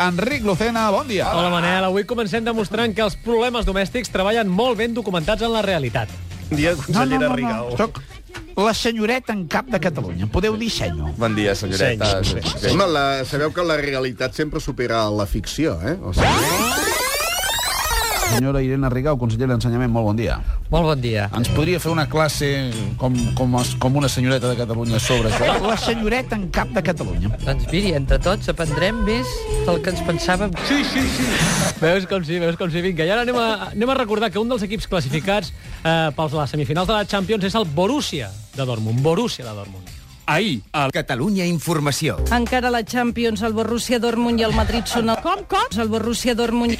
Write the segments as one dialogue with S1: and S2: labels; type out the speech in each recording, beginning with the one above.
S1: Enric Lucena, bon dia.
S2: Hola, Manel. Avui comencem demostrant que els problemes domèstics treballen molt ben documentats en la realitat.
S3: Bon dia,
S1: No, no,
S3: consellera
S1: no,
S3: Rigau.
S1: no. Soc la senyoreta en cap de Catalunya. Em podeu dir senyor.
S4: Bon dia, senyoreta.
S3: Seny.
S4: Sí.
S5: Home, la, sabeu que la realitat sempre supera la ficció, eh? O sigui,
S1: Senyora Irene Rigau, consellera d'Ensenyament, molt bon dia.
S2: Molt bon dia.
S6: Ens podria fer una classe com, com, es- com una senyoreta de Catalunya sobre això?
S1: La senyoreta en cap de Catalunya.
S7: Doncs miri, entre tots aprendrem més del que ens pensàvem. Sí.
S2: Veus com sí, veus com sí. Vinga, i ara anem a, anem a recordar que un dels equips classificats eh, pels les semifinals de la Champions és el Borussia de Dortmund. Borussia de Dortmund.
S8: Ahir, a Catalunya Informació.
S9: Encara la Champions, el Borussia Dortmund i el Madrid són el... Com, com? El Borussia Dortmund...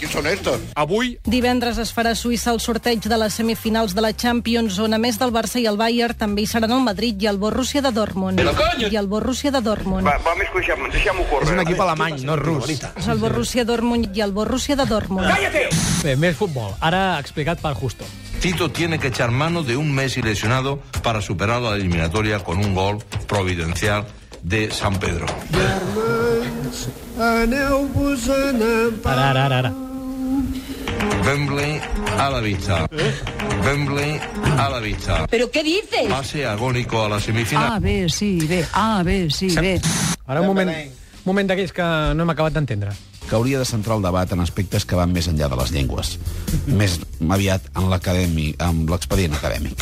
S8: Avui,
S9: Divendres es farà a Suïssa el sorteig de les semifinals de la Champions, on a més del Barça i el Bayern també hi seran el Madrid i el Borussia de Dortmund. I el Borussia de Dortmund. Va,
S3: És un equip alemany, no rus.
S9: El Borussia Dortmund i el Borussia de Dortmund.
S2: Bé, més futbol. Ara explicat per Justo.
S10: Tito tiene que echar mano de un Messi lesionado para superar la eliminatoria con un gol providencial de San Pedro.
S2: Ara, ara, ara. ara.
S10: Wembley a la vista. Wembley a la vista.
S9: Però què dices?
S10: Pase agónico a la semifinal.
S7: B, sí, B, A, B, sí, B.
S2: Ara un moment, un moment d'aquells que no hem acabat d'entendre.
S6: Que hauria de centrar el debat en aspectes que van més enllà de les llengües. Més aviat en l'acadèmic, amb l'expedient acadèmic.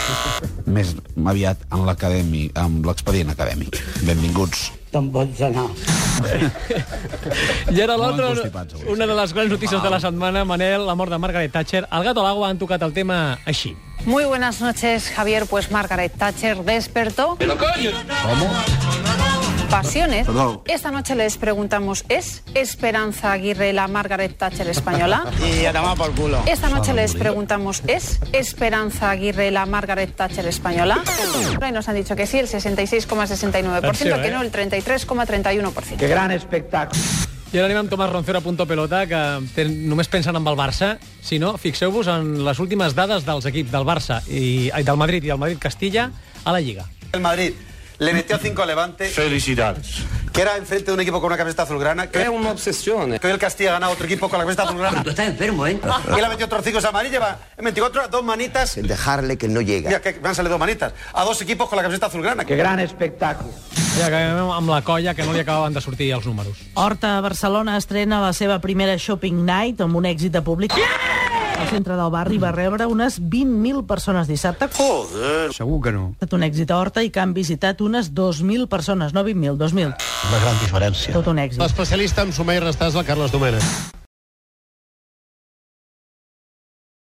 S6: Més aviat en l'acadèmic, amb l'expedient acadèmic. Benvinguts.
S2: I ara l'altra,
S6: Molt constipats, avui.
S2: una de les grans notícies de la setmana, Manel, la mort de Margaret Thatcher. El gato a l'aigua han tocat el tema així.
S9: Muy buenas noches, Javier. Pues Margaret Thatcher despertó. ¿Pero coño? Pasiones. Esta noche les preguntamos, ¿es Esperanza Aguirre la Margaret Thatcher española?
S3: I a tomar pel culo.
S9: Esta noche les preguntamos, ¿es Esperanza Aguirre la Margaret Thatcher española? Y nos han dicho que sí, el 66,69%, que no, Eh,
S2: eh?
S9: el 33,31%.
S3: Que gran espectacle.
S2: I ara anem amb Tomàs Roncero a Punto Pelota, que ten, només pensen en el Barça. Si no, fixeu-vos en les últimes dades dels equips del Barça, i, ai, del Madrid i del Madrid-Castilla a la Lliga.
S3: El Madrid le metió 5 a Levante. Felicidades. Que era enfrente de un equipo con una camiseta azulgrana. Que es una obsesión. Que hoy el Castilla ha ganado otro equipo con la camiseta azulgrana.
S7: Estás enfermo, ¿eh?
S3: Y le ha metido otros 5 a Madrid. Lleva en 24 dos manitas.
S8: el dejarle que no llega.
S3: Mira, que me han salido dos manitas. A dos equipos con la camiseta azulgrana. Que gran espectáculo.
S2: I acabem amb la colla, que no li acabaven de sortir els números.
S9: Horta a Barcelona estrena la seva primera Shopping Night amb un èxit de públic. El centre del barri va rebre unes 20.000 persones dissabte. Joder! Segur que no. Ha estat un èxit a Horta i que han visitat unes 2.000 persones, no 20.000, 2.000. Una gran diferència. Tot un èxit.
S3: L'especialista en suma i restàs el Carlos Domènech.